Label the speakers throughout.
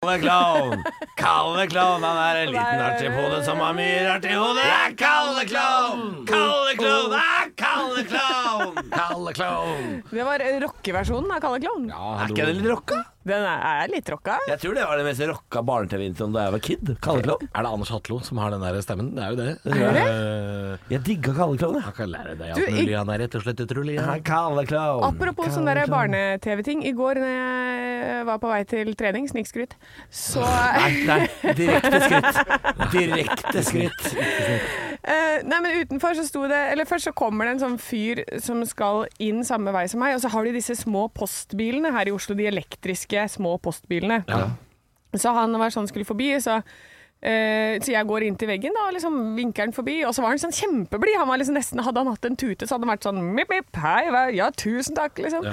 Speaker 1: Kalle Klovn! Kalle Klovn, han er en liten rart i hodet som har mye rart i hodet. Det er Kalle Klovn! Kalle Klovn! Det er Kalle Klovn! Kalle Klovn!
Speaker 2: Det var rockeversjonen av Kalle Klovn.
Speaker 1: Er ikke den litt rocka?
Speaker 2: Den er, er litt rocka.
Speaker 1: Jeg tror det var den mest rocka barne-TV-introen da jeg var kid. Kalle Klovn.
Speaker 3: Er det Anders Hatlo som har den der stemmen? Det er jo det.
Speaker 2: det det?
Speaker 3: Eh,
Speaker 1: Jeg digga Kalle Klovn, jeg.
Speaker 3: han kan lære deg
Speaker 2: Du,
Speaker 3: at
Speaker 2: jeg-
Speaker 3: Nulli, han er rett og slett et rulli.
Speaker 1: Det er Kalle Klovn.
Speaker 2: Apropos sånn der barne-TV-ting. I går når jeg var på vei til trening, snikskryt, så
Speaker 1: Nei, nei, direkte skritt. Direkte skritt.
Speaker 2: Eh, Nei, men utenfor så sto det Eller først så kommer det en sånn fyr som skal inn samme vei som meg, og så har de disse små postbilene her i Oslo, de elektriske små postbilene. Så han var sånn skulle forbi, så eh, så jeg går inn til veggen da, og liksom vinker han forbi, og så var han sånn kjempeblid. Han var liksom nesten, hadde han hatt en tute, så hadde han vært sånn mip, mip, hei, hva- ja, tusen takk, liksom.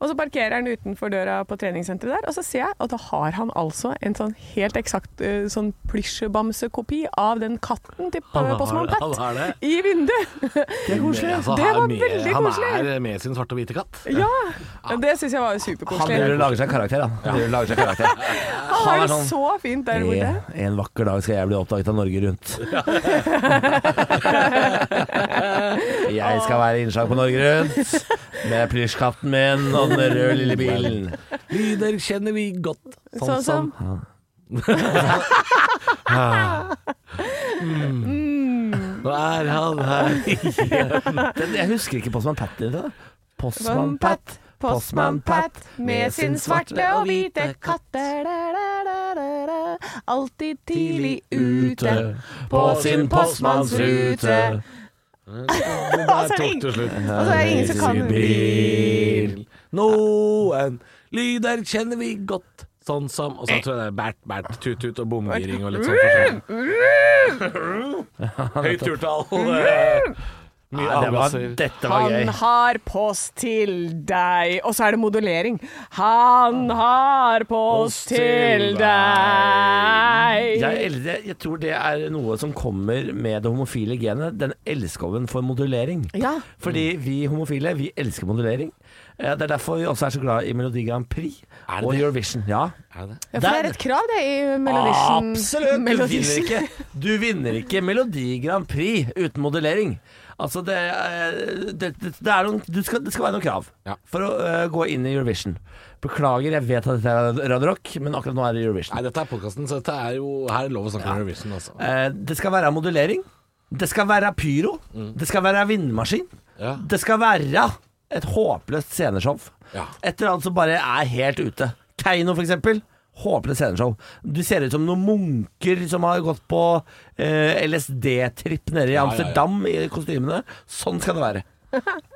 Speaker 2: Og så parkerer han utenfor døra på treningssenteret der, og så ser jeg at da har han altså en sånn helt eksakt eh, sånn plysjebamsekopi av den katten til
Speaker 3: Han har-
Speaker 2: Postman
Speaker 3: han har det.
Speaker 2: Pat i vinduet.
Speaker 3: Det er
Speaker 2: koselig.
Speaker 3: Altså,
Speaker 2: Det
Speaker 3: han er
Speaker 2: var
Speaker 3: med-
Speaker 2: veldig
Speaker 3: Han
Speaker 2: koselig.
Speaker 3: er med sin svarte og hvite katt.
Speaker 2: Ja, det syns jeg var
Speaker 1: Han driver
Speaker 2: jo superkoselig.
Speaker 1: og lager seg karakter, han. Han driver og lager seg karakter.
Speaker 2: Han har
Speaker 1: er
Speaker 2: det
Speaker 1: sånn-
Speaker 2: så fint der borte.
Speaker 1: En, en vakker dag skal jeg bli oppdaget av Norge Rundt. Jeg skal være innslag på Norge Rundt med plysjkatten min og den røde lille bilen.
Speaker 3: Lyder kjenner vi godt.
Speaker 2: Sånn som
Speaker 3: Nå er han her.
Speaker 1: Den, jeg husker ikke Postman Pat i det. Postman
Speaker 2: Postman
Speaker 1: Pat.
Speaker 2: Pat, Postman Pat med sin svarte og hvite katt. Da, da, da, da, da. Alltid tidlig ute på sin postmannsrute.
Speaker 3: Der tok det slutt.
Speaker 2: Og så er det ingen som kan
Speaker 3: Bil. Noen lyder kjenner vi godt. Sånn som Og så tror jeg det er bært, bært, tut-tut og bomgiring og litt sånn. forskjellig. Høyt turtall. Mye
Speaker 1: Ja, det var,
Speaker 3: avgasser.
Speaker 1: dette var
Speaker 2: Han
Speaker 1: gøy.
Speaker 2: har post til deg Og så er det modulering. Han har post til deg.
Speaker 1: Jeg, el- jeg, jeg tror det er noe som kommer med det homofile genet. Den elskoven for modulering.
Speaker 2: Ja.
Speaker 1: Fordi vi homofile, vi elsker modulering. Eh, Det er derfor vi også er så glad i Melodi Grand Prix
Speaker 3: Er det
Speaker 1: og
Speaker 3: det?
Speaker 1: Eurovision. Ja.
Speaker 3: Er det det?
Speaker 2: Ja, for det er et krav, det, i Melodition.
Speaker 1: Absolutt! Du vinner,
Speaker 2: Melodition.
Speaker 1: ikke, du vinner ikke Melodi Grand Prix uten modellering. Altså, det, er- det, det, det, er noen, du skal, det skal være noen krav
Speaker 3: Ja.
Speaker 1: for å øh, gå inn i Eurovision. Beklager, jeg vet at dette er Radio Rock, men akkurat nå er det Eurovision.
Speaker 3: Nei, dette er podkasten, så dette er jo Her er det lov å snakke om Eurovision, altså.
Speaker 1: Eh, det skal være modellering. Det skal være pyro.
Speaker 3: Mm.
Speaker 1: Det skal være vindmaskin.
Speaker 3: Ja.
Speaker 1: Det skal være et håpløst sceneshow.
Speaker 3: Ja.
Speaker 1: Et eller annet som bare er helt ute. Keiino, for eksempel. Håpløst sceneshow. Du ser ut som noen munker som har gått på eh, LSD-tripp nede i
Speaker 3: ja, ja.
Speaker 1: Amsterdam i kostymene. Sånn skal det være.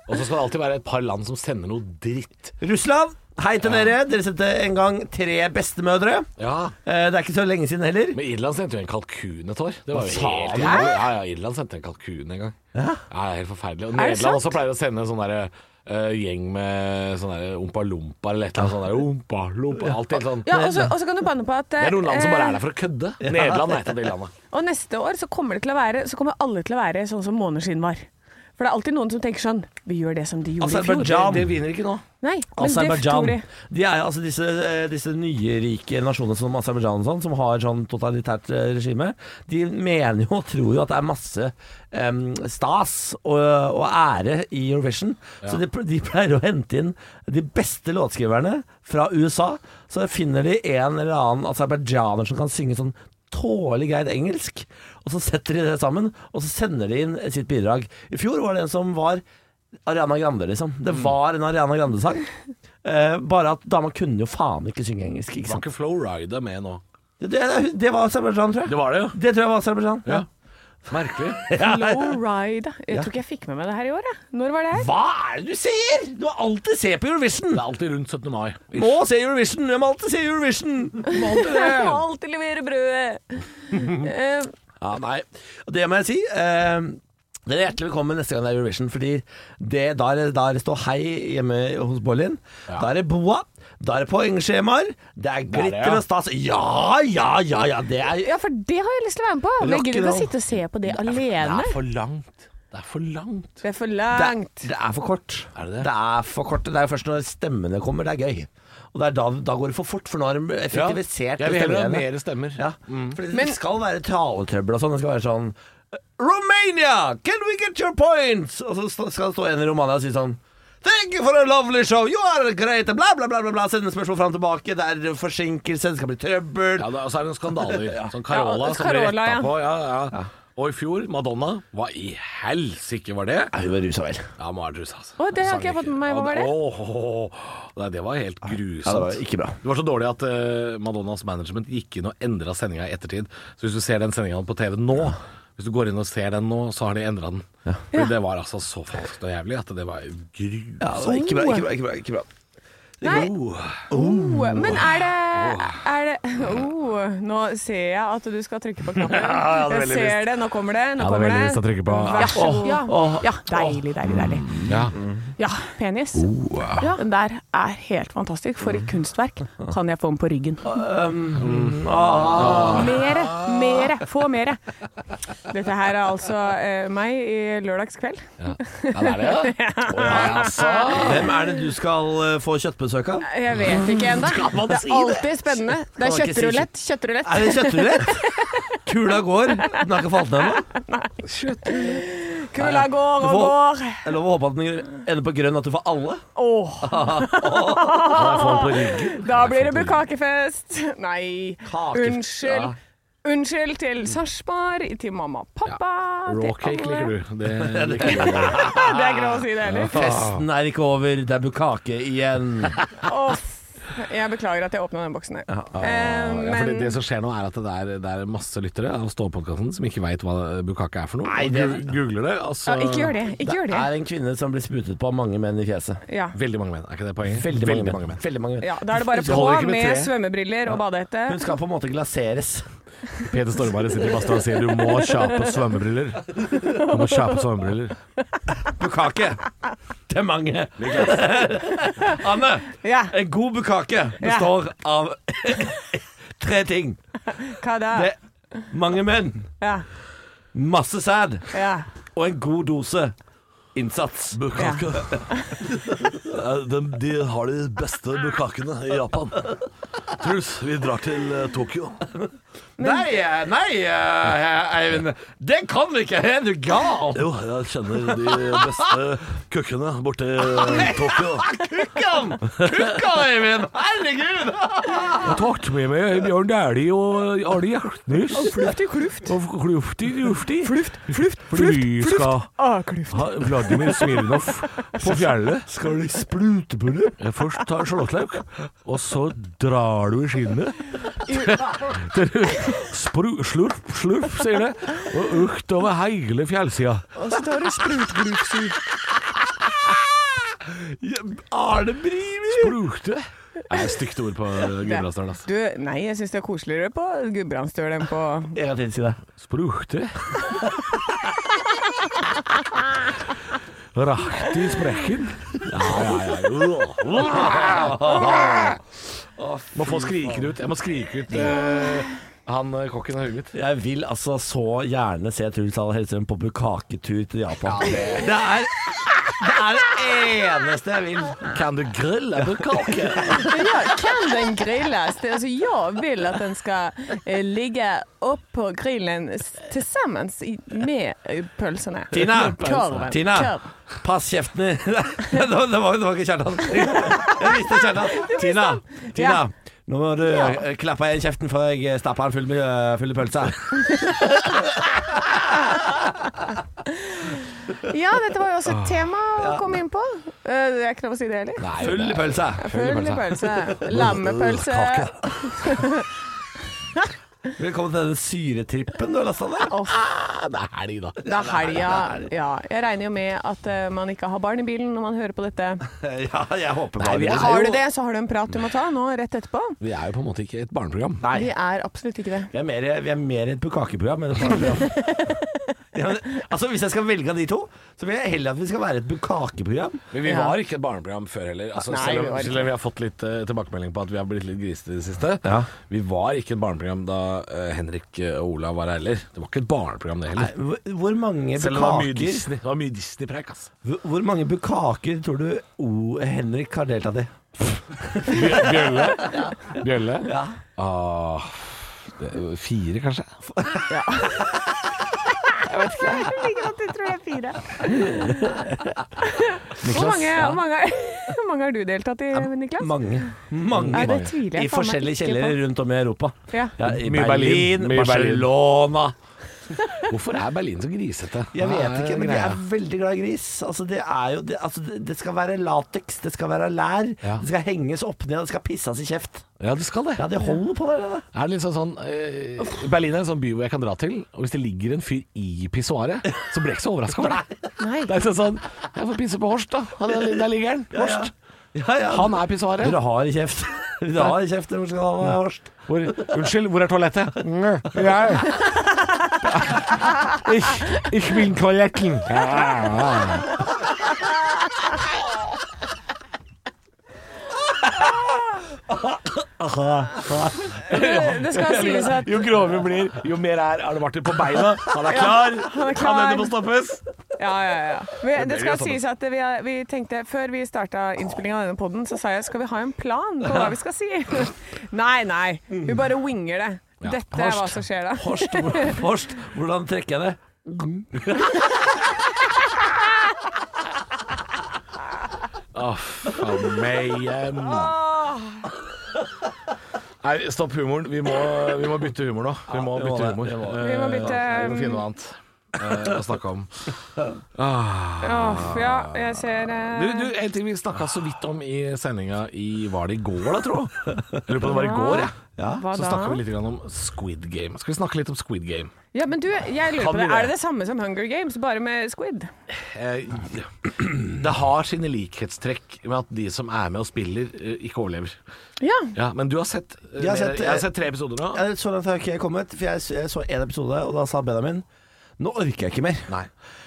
Speaker 3: Og så skal det alltid være et par land som sender noe dritt.
Speaker 1: Russland, hei til dere. Dere sendte en gang tre bestemødre.
Speaker 3: Ja.
Speaker 1: Eh, det er ikke så lenge siden heller.
Speaker 3: Men Irland sendte jo en kalkun et år. Det var
Speaker 1: Hva
Speaker 3: jo
Speaker 1: sa
Speaker 3: helt
Speaker 1: du?
Speaker 3: Ja, ja, ja, Irland sendte en kalkun en gang. Ja, det er helt forferdelig. Og
Speaker 2: det sant?
Speaker 3: Nederland også pleier å sende sånn derre eh, gjeng med sånn derre ompa lompa eller et eller annet sånn derre ompa lompa. Alltid sånn.
Speaker 2: Ja, og så- og så kan du banne på at eh,
Speaker 3: Det er noen land som bare er der for å kødde. Nederland er et av de landene.
Speaker 2: Og neste år så kommer, det til å være, så kommer alle til å være sånn som måneskinn var. For det er alltid noen som tenker sånn Vi gjør det som de gjorde i fjor.
Speaker 1: Aserbajdsjan.
Speaker 3: Det vinner ikke nå.
Speaker 2: Nei, men det tror
Speaker 1: Aserbajdsjan.
Speaker 2: de.
Speaker 1: De er jo altså disse, eh, disse nye rike nasjonene som Aserbajdsjan og sånn, som har sånn totalitært eh, regime. De mener jo og tror jo at det er masse em, stas og, og ære i Eurovision. Så de, de pleier å hente inn de beste låtskriverne fra USA. Så finner de en eller annen aserbajdsjaner som kan synge sånn tålelig greit engelsk, og så setter de det sammen, og så sender de inn sitt bidrag. I fjor var det en som var Ariana Grande, liksom. Det var en Ariana Grande-sang. Eh, bare at dama kunne jo faen ikke synge engelsk. Ikke
Speaker 3: Var
Speaker 1: sant?
Speaker 3: ikke Flo Rida med nå?
Speaker 1: Det, det, det var Aserbajdsjan, tror jeg.
Speaker 3: Det var det, jo.
Speaker 1: Det tror jeg var Aserbajdsjan.
Speaker 3: Ja. Merkelig.
Speaker 2: Flowride. Jeg tror ikke jeg fikk med meg det her i år. Jeg. Når var det her?
Speaker 1: Hva er det du ser?! Du må alltid se på Eurovision!
Speaker 3: Det er alltid rundt 17. mai.
Speaker 1: Må se Eurovision! Du må alltid se Eurovision! Du må alltid det.
Speaker 2: Jeg må alltid levere brødet. Eh,
Speaker 1: Ja, nei. Og Det må jeg si. Eh, dere er hjertelig velkommen neste gang det er Eurovision, fordi det, da er det- da er det stå hei hjemme hos Bollin. Da er det boa. Da er det poengskjemaer. Det er
Speaker 3: er det,
Speaker 1: glitter
Speaker 3: ja.
Speaker 1: og stas. Ja, ja, ja, ja. Det er
Speaker 2: ja, for det har jeg lyst til å være med på. Men Jeg gidder ikke å sitte og se på det alene.
Speaker 3: Det er for langt. Det er for langt.
Speaker 2: Det er for
Speaker 1: Det,
Speaker 2: langt.
Speaker 1: det er for kort.
Speaker 3: Er det det?
Speaker 1: er for kort. Det er først når stemmene kommer, det er gøy. Og det er da, da går det for fort, for nå har de
Speaker 3: Ja.
Speaker 1: effektivisert
Speaker 3: Jeg vil heller ha
Speaker 1: stemmegreiene.
Speaker 3: mer Mm. stemmer.
Speaker 1: Ja, fordi det
Speaker 2: Men-
Speaker 1: skal være taletrøbbel og sånn. Det skal være sånn Romania, can we get your points? Og så sta- skal det stå en i Romania og si sånn Thank you for a lovely show, you are great, bla, bla, bla, bla, bla. Sende spørsmål fram og tilbake, det er forsinkelse, det skal bli trøbbel.
Speaker 3: Ja, det, og så er det noen skandaler. Sånn Carola
Speaker 2: Ja,
Speaker 3: som ble
Speaker 2: Carola,
Speaker 3: retta
Speaker 2: ja.
Speaker 3: på. Ja, ja. Og i fjor, Madonna. Hva i helsike var det?
Speaker 1: Ja, hun var rusa vel.
Speaker 3: Ja, Mardrus, altså.
Speaker 2: Å, det har ikke jeg fått med meg. Hva var det?
Speaker 3: Nei, det var helt grusomt.
Speaker 1: Ja, det var ikke bra.
Speaker 3: Det var så dårlig at eh, Madonnas management gikk inn og endra sendinga i ettertid. Så hvis du ser den sendinga på TV nå, hvis du går inn og ser den nå, så har de endra den. Fordi det var altså så falskt og jævlig at det var grusomt.
Speaker 1: Ja, det var ikke bra, ikke bra, ikke bra. Ikke bra.
Speaker 2: Nei,
Speaker 3: Oh.
Speaker 2: oh, men er det, er det oh, Nå ser jeg at du skal trykke på knappen.
Speaker 1: jeg hadde
Speaker 2: Jeg
Speaker 1: veldig
Speaker 2: ser det. Nå kommer det. Nå
Speaker 3: Jeg hadde
Speaker 2: kommer
Speaker 3: veldig
Speaker 2: det.
Speaker 3: lyst til å trykke på.
Speaker 2: Vær så god. Ja.
Speaker 1: åh,
Speaker 2: ja, deilig, deilig, deilig.
Speaker 3: Ja.
Speaker 2: Ja, penis. Ja, den der er helt fantastisk. For et kunstverk. Kan jeg få den på ryggen?
Speaker 1: Um, ah.
Speaker 2: Mere, mere, få mere. Dette her er altså eh, meg i lørdagskveld.
Speaker 3: Ja. ja, det er det, ja. Nei, altså.
Speaker 1: Hvem er det du skal eh, få kjøttbesøk av?
Speaker 2: Jeg vet ikke ennå.
Speaker 1: man
Speaker 2: Det
Speaker 1: si
Speaker 2: er
Speaker 1: det?
Speaker 2: alltid spennende. Det er
Speaker 1: Skal man ikke si
Speaker 2: kjøttrulett. Kjøttrulett.
Speaker 1: Er det kjøttrulett? Kula går. Den har ikke falt ned ennå.
Speaker 2: Kula går
Speaker 1: Du
Speaker 2: og
Speaker 1: får-
Speaker 2: går.
Speaker 1: Det er lov å håpe at den ender på grønn, at du får alle. Ah,
Speaker 2: Åh,
Speaker 3: Kan Ah, jeg få den på ryggen?
Speaker 2: da blir det bukakefest. Nei,
Speaker 1: Kakefest, ja.
Speaker 2: unnskyld. Unnskyld til Sarpsborg, til mamma og pappa. til
Speaker 3: Raw cake
Speaker 2: alle.
Speaker 3: liker du. Det liker du.
Speaker 2: Det er ikke lov å si det heller.
Speaker 1: Festen er ikke over, det er bukake igjen.
Speaker 2: Åh, jeg beklager at jeg åpna den boksen her. Eh,
Speaker 3: Ja,
Speaker 2: men
Speaker 3: fordi det som skjer nå er at det er, det er masse lyttere av Stålpodkasten som ikke veit hva bukake er for noe.
Speaker 1: Nei,
Speaker 3: Og
Speaker 1: det-
Speaker 3: gu- Googler det, og så
Speaker 2: ja, ikke gjør det. Ikke gjør
Speaker 1: Det
Speaker 2: det.
Speaker 1: er en kvinne som blir sprutet på av mange menn i fjeset.
Speaker 2: Ja.
Speaker 3: Veldig mange menn, er ikke det poenget?
Speaker 1: Veldig mange, menn. Veldig mange menn.
Speaker 2: ja. Da er det bare
Speaker 3: Det
Speaker 2: på
Speaker 3: holder ikke
Speaker 2: med,
Speaker 3: med tre.
Speaker 2: svømmebriller og badehette.
Speaker 1: Hun skal på en måte glaseres.
Speaker 3: Peter Stormare sitter i badstua og sier du må kjøpe svømmebriller. Du må kjøpe svømmebriller.
Speaker 1: Bukake til mange. Anne,
Speaker 2: Ja,
Speaker 1: en god bukake består av tre ting.
Speaker 2: hva da?
Speaker 1: Det er mange menn,
Speaker 2: Ja,
Speaker 1: masse sæd
Speaker 2: ja.
Speaker 1: og en god dose innsats.
Speaker 2: Bukkake.
Speaker 4: De, de har de beste bukkakene i Japan. Truls, vi drar til eh, Tokyo.
Speaker 1: Nei, eh, nei, eh, Eivind. Det kan vi ikke! Er du gal?
Speaker 4: Jo, jeg kjenner de beste kukkene borti eh, Tokyo.
Speaker 1: Kukkan! Kukkan, Eivind! Herregud!
Speaker 3: Jeg tatt med meg Bjørn Dæhlie og Arne Hjertnes.
Speaker 2: Fluft i kluft.
Speaker 3: Og klufti, klufti.
Speaker 2: Fluft, fluft,
Speaker 3: Fordi vi
Speaker 2: fluft. fluft.
Speaker 3: skal
Speaker 2: Ah, kluft.
Speaker 3: ha Vladimir Smirnov på fjellet.
Speaker 4: Skal de sprute på det?
Speaker 3: Jeg Først tar sjalottløk, og så drar du i skinnet. Til du spru- Slurp, slurp, sier det. Og utover hele fjellsida.
Speaker 2: Og så tar du sprutgrufsur.
Speaker 1: Arne Brimi!
Speaker 3: Sprute. Det er stygt ord på Gudbrandsdalen, altså.
Speaker 2: Du, nei, jeg syns det er koseligere på Gudbrandsdøl enn på
Speaker 1: En gang til, si det.
Speaker 3: Sprute. Rakt i sprekken. Må få skrike det ut. Jeg må skrike ut eh, han eh, kokken i hodet mitt.
Speaker 1: Jeg vil altså så gjerne se Truls Aller Hellstrøm på bukaketur til Japan. det... er det er det eneste jeg vil.
Speaker 3: Kan du grille bukkake?
Speaker 2: Ja, kan den grilles? Det, altså, jeg vil at den skal eh, ligge oppå grillen s- til sammen i- med eh, pølsene.
Speaker 1: Tina!
Speaker 2: Korven.
Speaker 1: Tina!
Speaker 2: Korv.
Speaker 1: Pass kjeften din. det, var, det var ikke Kjartan. Jeg visste Kjartan. Tina! Tina.
Speaker 2: Ja.
Speaker 1: Nå må du eh, klappe igjen kjeften før jeg stapper den full med eh, full av pølser.
Speaker 2: Ja, dette var jo også
Speaker 1: Ah.
Speaker 2: et tema å komme inn på. Eh, Det er ikke lov å si det heller.
Speaker 1: Full av pølser.
Speaker 2: Full pølse. Lammepølse.
Speaker 1: Velkommen til denne syretrippen du har lasta ned.
Speaker 2: Uff,
Speaker 3: Ja, Det er helg, da.
Speaker 2: det er helga. Ja, jeg regner jo med at eh, man ikke har barn i bilen når man hører på dette.
Speaker 1: Ja, jeg håper bare
Speaker 3: vi er-
Speaker 2: Har du det, så har du en prat du må ta nå rett etterpå.
Speaker 3: Vi er jo på en måte ikke et barneprogram.
Speaker 1: Nei.
Speaker 2: Vi er absolutt ikke det.
Speaker 1: Vi er mer, vi er mer et bukakeprogram enn et barneprogram. Ja, men, altså, hvis jeg skal velge av de to, så vil jeg heller at vi skal være et bukakeprogram.
Speaker 3: Men vi
Speaker 2: Ja.
Speaker 3: var ikke et barneprogram før heller. Altså,
Speaker 2: Nei,
Speaker 3: selv,
Speaker 2: vi
Speaker 3: om,
Speaker 2: var ikke
Speaker 3: selv om vi har fått litt eh, tilbakemelding på at vi har blitt litt grisete i det siste.
Speaker 1: Ja.
Speaker 3: Vi var ikke et barneprogram da eh, Henrik eh, og Olav var her heller. Det var ikke et barneprogram det
Speaker 1: Nei,
Speaker 3: heller.
Speaker 1: hvor- Hvor mange
Speaker 3: selv om det var mye
Speaker 1: bukaker
Speaker 3: Disney. Det var mye Disney-preik, altså.
Speaker 1: Hvor mange bukaker tror du O. Henrik har deltatt i?
Speaker 3: Bjølle? Bjølle? Ah, det, fire, kanskje?
Speaker 2: Jeg liker at du tror det er fire. Hvor
Speaker 3: Niklas?
Speaker 2: mange, hvor mange, hvor mange har du deltatt i, Niklas?
Speaker 1: Mange. Mange.
Speaker 2: Nei, det tviler jeg
Speaker 1: I
Speaker 2: faen meg
Speaker 1: forskjellige
Speaker 2: ikke
Speaker 1: kjellere
Speaker 2: på.
Speaker 1: rundt om i Europa.
Speaker 2: Ja.
Speaker 1: Ja, I
Speaker 3: Mye
Speaker 1: Berlin,
Speaker 3: Berlin, mye Berlin.
Speaker 1: Barcelona
Speaker 3: Hvorfor er Berlin så grisete?
Speaker 1: Jeg
Speaker 3: Hva
Speaker 1: vet ikke, men jeg
Speaker 3: greia?
Speaker 1: er veldig glad i gris. Altså, det, er jo, det, altså, det, det skal være lateks, det skal være lær,
Speaker 3: Ja.
Speaker 1: det skal henges opp ned, det skal pisses i kjeft.
Speaker 3: Ja, det skal det.
Speaker 1: Ja, det holder på der, det. der.
Speaker 3: Er det liksom sånn eh, Berlin er en sånn by hvor jeg kan dra til, og hvis det ligger en fyr i pissoaret, så blir jeg ikke så overraska over det. Det er liksom sånn Jeg får pisse på Horst, da. Han, er- der ligger han. Horst.
Speaker 1: Ja, ja.
Speaker 3: Han er pissoaret.
Speaker 1: Dere har i kjeft. Dere har i kjeft, hvor skal han være Horst?
Speaker 3: Hvor, unnskyld, hvor er toalettet? Nja, Jeg. Ich, ich bin toaletten.
Speaker 2: Det skal sies at
Speaker 3: Jo grovere hun blir, jo mer er Arne Martin på beina. Han er klar.
Speaker 2: han er
Speaker 3: Han
Speaker 2: klar.
Speaker 3: ender på å stoppes.
Speaker 2: Ja, ja, ja. Vi, det
Speaker 3: jo
Speaker 2: skal
Speaker 3: sånn.
Speaker 2: sies at vi, er- vi tenkte Før vi starta innspillinga av denne poden, så sa jeg skal vi ha en plan på hva vi skal si? Nei, nei. Vi bare winger det. Dette er hva som skjer da.
Speaker 1: Horst, hvor, Horst hvordan trekker jeg det?
Speaker 3: Å, faen meg igjen. Nei, stopp humoren. Vi må, vi må bytte humor nå. Vi må
Speaker 1: vi må
Speaker 3: bytte
Speaker 1: det.
Speaker 3: humor.
Speaker 1: Vi må
Speaker 2: Vi må bytte,
Speaker 3: Eh, vi må
Speaker 2: um,
Speaker 3: finne noe annet eh, å snakke om.
Speaker 2: Åh, ja, jeg ser eh,
Speaker 3: Du, du, en ting vi snakka så vidt om i sendinga i Var det i går, da, tro? Jeg lurer på om det var i går, jeg.
Speaker 2: Hva
Speaker 3: Så
Speaker 2: da?
Speaker 3: snakka vi litt grann om Squid Game. Skal vi snakke litt om Squid Game?
Speaker 2: Ja, men du, jeg lurer
Speaker 3: Kan
Speaker 2: på
Speaker 3: vi
Speaker 2: det.
Speaker 3: det?
Speaker 2: Er det det samme som Hunger Games, bare med squid?
Speaker 3: Eh, Det har sine likhetstrekk med at de som er med og spiller, eh, ikke overlever.
Speaker 2: Ja.
Speaker 3: Ja, Men du har sett, eh,
Speaker 1: Jeg har
Speaker 3: mer-
Speaker 1: sett, eh,
Speaker 3: jeg har sett tre episoder nå.
Speaker 1: Ja, Så langt har jeg ikke kommet, for jeg, jeg så en episode, og da sa Benjamin Nå orker jeg ikke mer.
Speaker 3: Nei.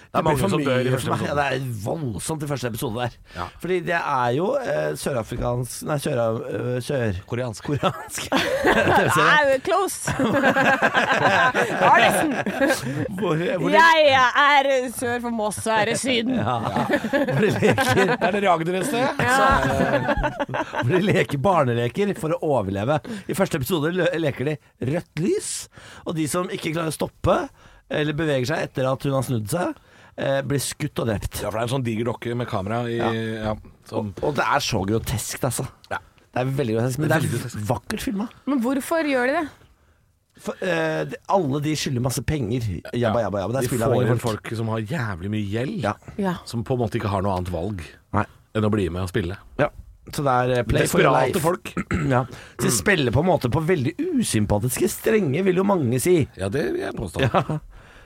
Speaker 1: Det, blir
Speaker 3: mange
Speaker 1: for
Speaker 3: som
Speaker 1: mye
Speaker 3: dør i
Speaker 1: for
Speaker 3: første
Speaker 1: meg.
Speaker 3: episode.
Speaker 1: Ja, det er voldsomt i første episode der.
Speaker 3: Ja.
Speaker 1: Fordi det er jo eh, sørafrikansk Nei, sør, øh,
Speaker 3: Koreansk.
Speaker 1: sørkoreansk
Speaker 2: Nei,
Speaker 1: TV-serie.
Speaker 2: det er close! ja, nesten.
Speaker 1: Hvor, hvor, de,
Speaker 2: Jeg er sør for Moss, så er det Syden.
Speaker 1: hvor, de leker,
Speaker 3: Er det Ragder et sted?
Speaker 2: eh,
Speaker 1: hvor de leker barneleker for å overleve. I første episode lø- leker de rødt lys, og de som ikke klarer å stoppe eller beveger seg etter at hun har snudd seg, eh, blir skutt og drept.
Speaker 3: Ja, for det er en sånn diger dokke med kamera i ja. sånn.
Speaker 1: Og det er så grotesk, altså.
Speaker 3: Ja.
Speaker 1: Det er veldig grotesk, men det
Speaker 3: Veldig
Speaker 1: er vakkert filma.
Speaker 2: Men hvorfor gjør de det?
Speaker 1: For, eh, de, alle de skylder masse penger. Jabba, jabba, jabba. Det
Speaker 3: De
Speaker 1: er
Speaker 3: får
Speaker 1: spilleavhengige
Speaker 3: inn
Speaker 1: folk.
Speaker 3: folk som har jævlig mye gjeld,
Speaker 1: Ja.
Speaker 2: Ja.
Speaker 3: som på en måte ikke har noe annet valg
Speaker 1: Nei.
Speaker 3: enn å bli med og spille.
Speaker 1: Ja. Så det er eh, play for
Speaker 3: Desperate
Speaker 1: life.
Speaker 3: folk.
Speaker 1: Ja. Så de spiller på en måte på veldig usympatiske strenge, vil jo mange si.
Speaker 3: Ja, det vil jeg påstå. Ja.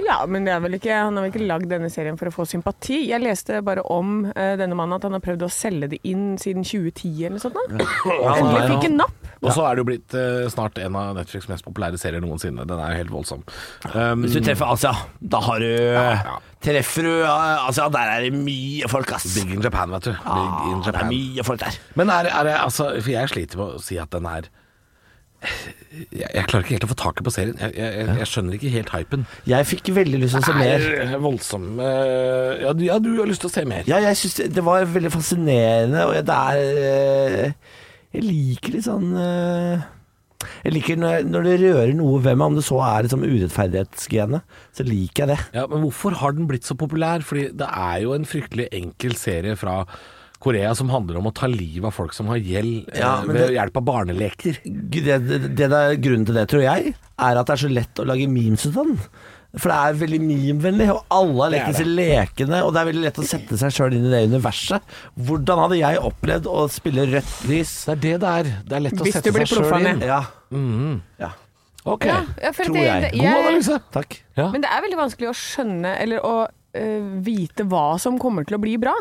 Speaker 2: Ja, men det er vel ikke, han har vel ikke lagd denne serien for å få sympati. Jeg leste bare om eh, denne mannen at han har prøvd å selge det inn siden 2010 eller noe sånt. da. Endelig fikk en napp.
Speaker 3: Og så er det jo blitt eh, snart en av Netflix' mest populære serier noensinne. Den er jo helt voldsom. Um,
Speaker 1: Hvis du treffer Asia, da har du
Speaker 3: ja.
Speaker 1: Treffer du eh, Asia, der er det mye folk, ass.
Speaker 3: Big in Japan, vet du. Big
Speaker 1: Ah,
Speaker 3: in
Speaker 1: det er
Speaker 3: Japan.
Speaker 1: mye folk der.
Speaker 3: Men er, er det altså For jeg sliter med å si at den er jeg, jeg klarer ikke helt å få taket på serien. Jeg, jeg, jeg, jeg skjønner ikke helt hypen.
Speaker 1: Jeg fikk veldig lyst til å se mer.
Speaker 3: er voldsom eh, ja, du, ja, du har lyst til å se mer.
Speaker 1: Ja, jeg syns det, det var veldig fascinerende, og det er eh, Jeg liker litt sånn eh, Jeg liker når, når det rører noe ved meg, om det så er liksom urettferdighetsgenet, så liker jeg det.
Speaker 3: Ja, men hvorfor har den blitt så populær? Fordi det er jo en fryktelig enkel serie fra Korea som handler om å ta livet av folk som har gjeld eh,
Speaker 1: Ja, men
Speaker 3: ved
Speaker 1: det-
Speaker 3: hjelp av barneleker.
Speaker 1: G- Det, det, det der, grunnen til det, tror jeg, er at det er så lett å lage memes ut av den. For det er veldig memevennlig, og alle har lekt
Speaker 3: Det er
Speaker 1: disse lekene. Og det er veldig lett å sette seg sjøl inn i det universet. Hvordan hadde jeg opplevd å spille rødt lys?
Speaker 3: Det er det det er. Det er lett å
Speaker 2: Hvis du
Speaker 3: sette
Speaker 2: blir
Speaker 3: seg sjøl
Speaker 2: proffa
Speaker 3: inn. Mhm.
Speaker 2: ned.
Speaker 1: Ja. ja.
Speaker 3: Ok,
Speaker 2: Ja, ja, for
Speaker 1: Tror
Speaker 2: det,
Speaker 1: jeg.
Speaker 2: det,
Speaker 3: God analyse.
Speaker 1: Takk.
Speaker 3: Ja.
Speaker 2: Men det er veldig vanskelig å skjønne eller å eh, vite hva som kommer til å bli bra.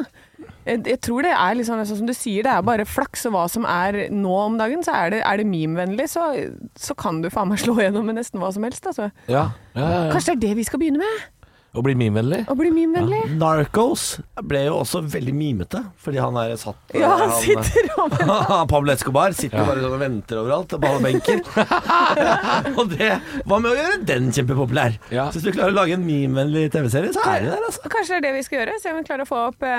Speaker 2: Jeg, jeg tror det er liksom, sånn som du sier, det er bare flaks, og hva som er nå om dagen, så er det, er det memevennlig, så, så kan du faen meg slå gjennom med nesten hva som helst, altså.
Speaker 3: Ja, ja, ja, ja.
Speaker 2: Kanskje det er det vi skal begynne med?
Speaker 3: Og blir memevennlig?
Speaker 2: Å bli memevennlig.
Speaker 1: Narcos ble jo også veldig mimete, fordi han er satt
Speaker 2: Ja, han sitter og
Speaker 1: Pablo Escobar sitter jo bare sånn og venter overalt og behandler benker. og det Hva med å gjøre den kjempepopulær?
Speaker 3: Ja.
Speaker 1: Så hvis du klarer å lage en memevennlig TV-serie, så er det der, altså.
Speaker 2: Kanskje det er det vi skal gjøre? Se om vi klarer å få opp eh,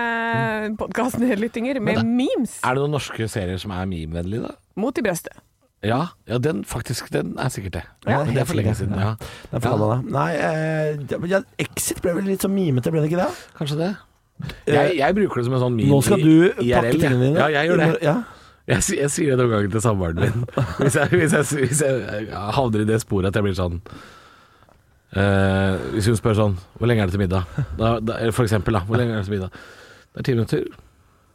Speaker 1: Mm.
Speaker 2: podkastnedlyttinger med memes
Speaker 3: Er det noen norske serier som er memevennlige, da?
Speaker 2: mot i brøstet.
Speaker 3: Ja, ja den faktisk, den er sikkert det.
Speaker 1: Ja,
Speaker 3: Men det er for
Speaker 1: helt
Speaker 3: lenge
Speaker 1: sikkert,
Speaker 3: siden.
Speaker 1: ja.
Speaker 3: Ja.
Speaker 1: Det er for alle, da. Nei, eh, det- ja, Exit ble vel litt sånn mimete, ble det ikke det?
Speaker 3: Kanskje det. Jeg, jeg bruker det som en sånn meme
Speaker 1: Eh, Nå skal
Speaker 3: i-
Speaker 1: du
Speaker 3: IRL,
Speaker 1: pakke
Speaker 3: jeg.
Speaker 1: tingene dine.
Speaker 3: Ja, jeg gjør det.
Speaker 1: Ja.
Speaker 3: Jeg, si- jeg sier det noen ganger til samboeren min. Hvis jeg, hvis, jeg, hvis jeg havner i det sporet at jeg blir sånn eh, Hvis hun spør sånn Hvor lenge er det til middag? Da, da, eller for eksempel, da. Hvor lenge er det til middag? Det er ti minutter.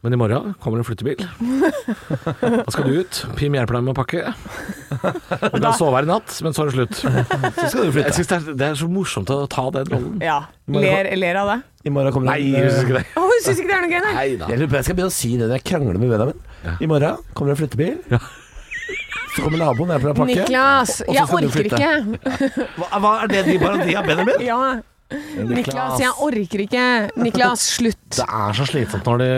Speaker 3: Men i morgen kommer en flyttebil. Da skal du ut. Pim hjelper deg med å pakke. Du kan sove her i natt, men så er det slutt.
Speaker 1: Så skal du
Speaker 3: Jeg
Speaker 1: flytte.
Speaker 3: synes det, er, det er så morsomt å ta den rollen.
Speaker 2: Ja.
Speaker 1: Må jeg
Speaker 2: Ler, ler av det.
Speaker 1: I morgen kommer
Speaker 3: Nei,
Speaker 1: det en,
Speaker 3: jeg synes
Speaker 1: eh,
Speaker 3: ikke det.
Speaker 2: Å, hun syns ikke det er noe gøy, nei?
Speaker 3: Nei da.
Speaker 1: Jeg lurer på, jeg skal begynne å si det når jeg krangler med Benjamin. I morgen kommer det en flyttebil. Så kommer naboen og hjelper deg å pakke.
Speaker 2: Niklas,
Speaker 1: Og- og så
Speaker 2: jeg
Speaker 1: skal du
Speaker 2: orker
Speaker 1: flytte.
Speaker 2: ikke.
Speaker 1: Hva, hva er det de bare de har, Benjamin?
Speaker 2: Ja. Niklas, jeg orker ikke. Niklas, slutt.
Speaker 3: Det er så slitsomt når det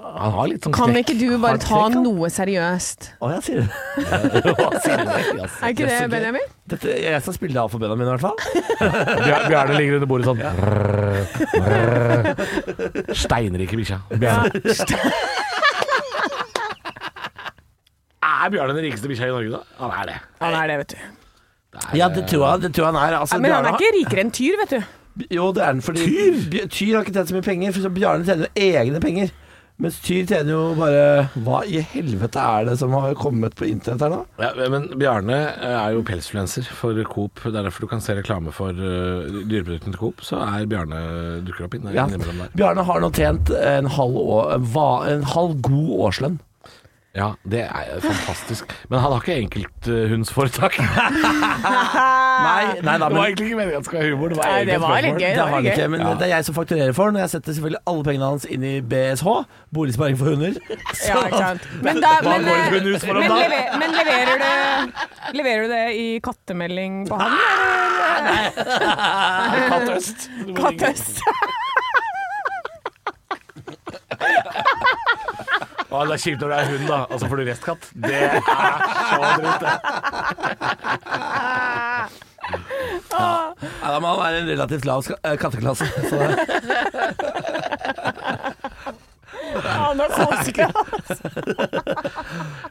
Speaker 3: Han har litt sånn
Speaker 2: Kan ikke du bare ta
Speaker 1: knekk, da?
Speaker 2: noe seriøst?
Speaker 1: Å, jeg sier det.
Speaker 2: Er ikke det, Benjamin?
Speaker 1: Dette, jeg skal spille det av for Benjamin i hvert fall.
Speaker 3: Bjar- Bjarne ligger under bordet sånn. Steinrike bikkja. Bjarne. Er Bjarne den rikeste bikkja i Norge, da? Han er det.
Speaker 2: Han er det, vet du.
Speaker 1: Ja, det tror jeg, det tror jeg han er. Altså,
Speaker 2: Men han er
Speaker 1: Bjarne
Speaker 2: ikke rikere enn tyr, vet du.
Speaker 1: har- Jo, det er han fordi Tyr, tyr har ikke tjent så mye penger, for så Bjarne tjener jo egne penger. Mens Tyr tjener jo bare Hva i helvete er det som har kommet på internett her nå?
Speaker 3: Ja, men Bjarne er jo pelsfluenser for Coop. Det er derfor du kan se reklame for eh, dyreproduktene til Coop. Så er Bjarne dukker opp inn,
Speaker 1: Ja.
Speaker 3: innimellom der.
Speaker 1: Bjarne har nå tjent en halv, år, hva- en halv god årslønn.
Speaker 3: Ja, det er fantastisk. Men han har ikke enkelthundsforetak.
Speaker 2: Ah.
Speaker 1: Nei, nei da,
Speaker 3: Det var
Speaker 1: men
Speaker 3: egentlig ikke meningen at det skulle være humor. Det var
Speaker 2: Nei, det
Speaker 3: egentlig et
Speaker 2: var
Speaker 3: spørsmål.
Speaker 2: litt gøy.
Speaker 1: Det
Speaker 2: Det
Speaker 1: har
Speaker 2: var
Speaker 1: han
Speaker 2: litt
Speaker 1: ikke,
Speaker 2: gøy.
Speaker 1: men det er jeg som fakturerer for den. og Jeg setter selvfølgelig alle pengene hans inn i BSH, Boligsparing for hunder. Så-
Speaker 2: Ja, ikke sant. Men, da,
Speaker 1: Hva
Speaker 2: men,
Speaker 1: går det for
Speaker 2: eh,
Speaker 1: en hus for om
Speaker 2: men,
Speaker 1: dagen?
Speaker 2: lever, men leverer, du, leverer du det i kattemelding på han?
Speaker 3: Kattøst.
Speaker 2: Kattøst.
Speaker 3: Å, det er kjipt når det er hund, da. Og så får du restkatt. Det er så dritt, det.
Speaker 1: Ja, da må han være en relativt lav ska- eh, katteklasse. Så det-
Speaker 2: Ah, Han har kosekatt.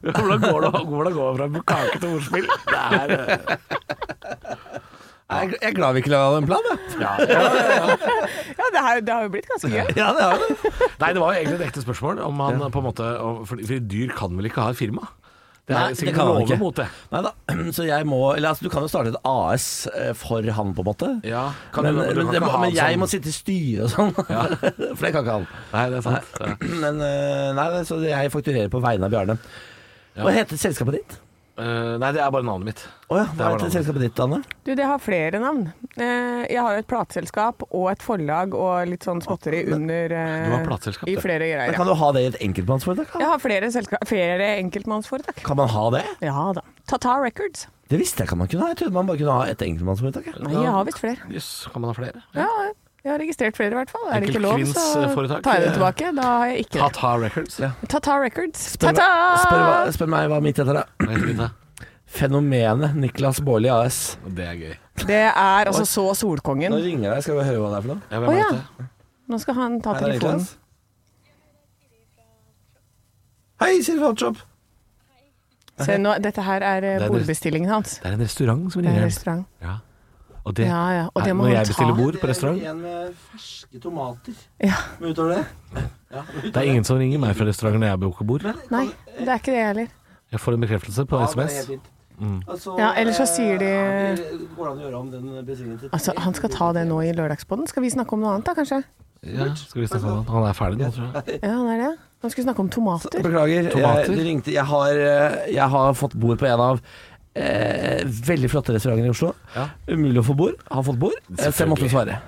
Speaker 3: Hvordan går det, hvordan går det fra kake til ordspill? Det er eh,
Speaker 1: jeg, jeg er glad vi ikke la en plan, jeg.
Speaker 3: ja, ja.
Speaker 2: Ja, det har, det har jo blitt ganske gøy.
Speaker 1: Ja, det har vi.
Speaker 3: Nei, det var jo egentlig et ekte spørsmål. Om han på en måte om- fordi, fordi dyr kan vel ikke ha et firma? Det
Speaker 1: Nei,
Speaker 3: er
Speaker 1: det
Speaker 3: sikkert
Speaker 1: kan han
Speaker 3: lover
Speaker 1: ikke.
Speaker 3: mot det.
Speaker 1: Nei da, så jeg må Eller altså, du kan jo starte et AS eh, for han, på en måte.
Speaker 3: Ja, kan
Speaker 1: Men,
Speaker 3: du- men du
Speaker 1: men, det,
Speaker 3: kan ikke
Speaker 1: må-
Speaker 3: ha
Speaker 1: men
Speaker 3: en
Speaker 1: jeg
Speaker 3: sånn-
Speaker 1: må sitte i styret og sånn. For det kan ikke han.
Speaker 3: Nei, det er sant. Ja.
Speaker 1: Men eh, nei, det- så jeg fakturerer på vegne av Bjarne. Hva heter selskapet ditt?
Speaker 3: Eh, nei, det er bare navnet mitt.
Speaker 1: Å ja,
Speaker 3: var
Speaker 1: hva heter
Speaker 3: navnet.
Speaker 1: selskapet ditt, Anne?
Speaker 2: Du, det har flere navn. Eh, Jeg har jo et plateselskap og et forlag og litt sånn småtteri under eh,
Speaker 3: Du har plateselskap,
Speaker 2: I
Speaker 3: du.
Speaker 2: flere
Speaker 1: Men
Speaker 2: greier.
Speaker 1: Kan
Speaker 2: Ja.
Speaker 1: du ha det i et enkeltmannsforetak? da?
Speaker 2: Jeg har flere, selska- flere enkeltmannsforetak.
Speaker 1: Kan man ha det?
Speaker 2: Ja da. Tata Records.
Speaker 1: Det visste jeg ikke man kunne ha. Jeg trodde man bare kunne ha et enkeltmannsforetak. jeg.
Speaker 2: Nei, jeg har visst flere.
Speaker 3: Jøss, kan man ha flere?
Speaker 2: Ja, jeg har registrert flere i hvert fall. Er det ikke lov, så
Speaker 3: Enkeltkvinnsforetak.
Speaker 2: tar jeg det tilbake. Da har jeg ikke det.
Speaker 3: Tata Records. Ja.
Speaker 2: Tata Records.
Speaker 1: Spør,
Speaker 2: Tata!
Speaker 1: meg- spør, hva- spør meg hva mitt heter, da.
Speaker 3: Det
Speaker 1: Fenomenet Niklas Baarli AS.
Speaker 3: er gøy.
Speaker 2: Det er altså så
Speaker 1: Nå
Speaker 2: Solkongen.
Speaker 1: ringer jeg, skal vi høre hva det er for noe?
Speaker 3: Ja, hvem
Speaker 2: Å
Speaker 3: er
Speaker 2: ja.
Speaker 3: dette?
Speaker 2: Nå skal han ta
Speaker 1: Hei, det er
Speaker 2: telefonen.
Speaker 1: Niklas. Hei, Siri fra Hotshop.
Speaker 2: Se, nå, dette her er eh,
Speaker 3: Det er
Speaker 2: bordbestillingen hans.
Speaker 3: Det er en restaurant som
Speaker 2: Det er
Speaker 3: ringer.
Speaker 2: restaurant.
Speaker 3: Ja. Og det,
Speaker 2: Ja, ja. Og det må
Speaker 3: Når
Speaker 2: han
Speaker 3: jeg bestiller
Speaker 2: ta.
Speaker 3: bord på restaurant
Speaker 1: en med ferske tomater.
Speaker 2: Ja.
Speaker 1: Men utover det
Speaker 3: Det er ingen som ringer meg fra restaurant når jeg booker bord.
Speaker 2: Nei, det er ikke det jeg heller.
Speaker 3: Jeg får en bekreftelse på SMS. Mm.
Speaker 1: Altså,
Speaker 2: Ja, ellers så sier de- eh,
Speaker 1: Går det an å gjøre om den bestillingen til
Speaker 2: Altså, Han skal ta det nå i Lørdagspodden. Skal vi snakke om noe annet da, kanskje?
Speaker 3: Ja, skal vi snakke om han? Han er ferdig nå, tror jeg.
Speaker 2: Ja, det er det. Han skulle snakke om tomater.
Speaker 1: Beklager, jeg,
Speaker 3: Tomater?
Speaker 1: det ringte jeg har, eh, jeg har fått bord på en av eh, veldig flotte restauranter i Oslo.
Speaker 3: Ja.
Speaker 1: Umulig å få bord. Har fått bord. Eh, Så jeg måtte
Speaker 3: Selvfølgelig.
Speaker 1: svare.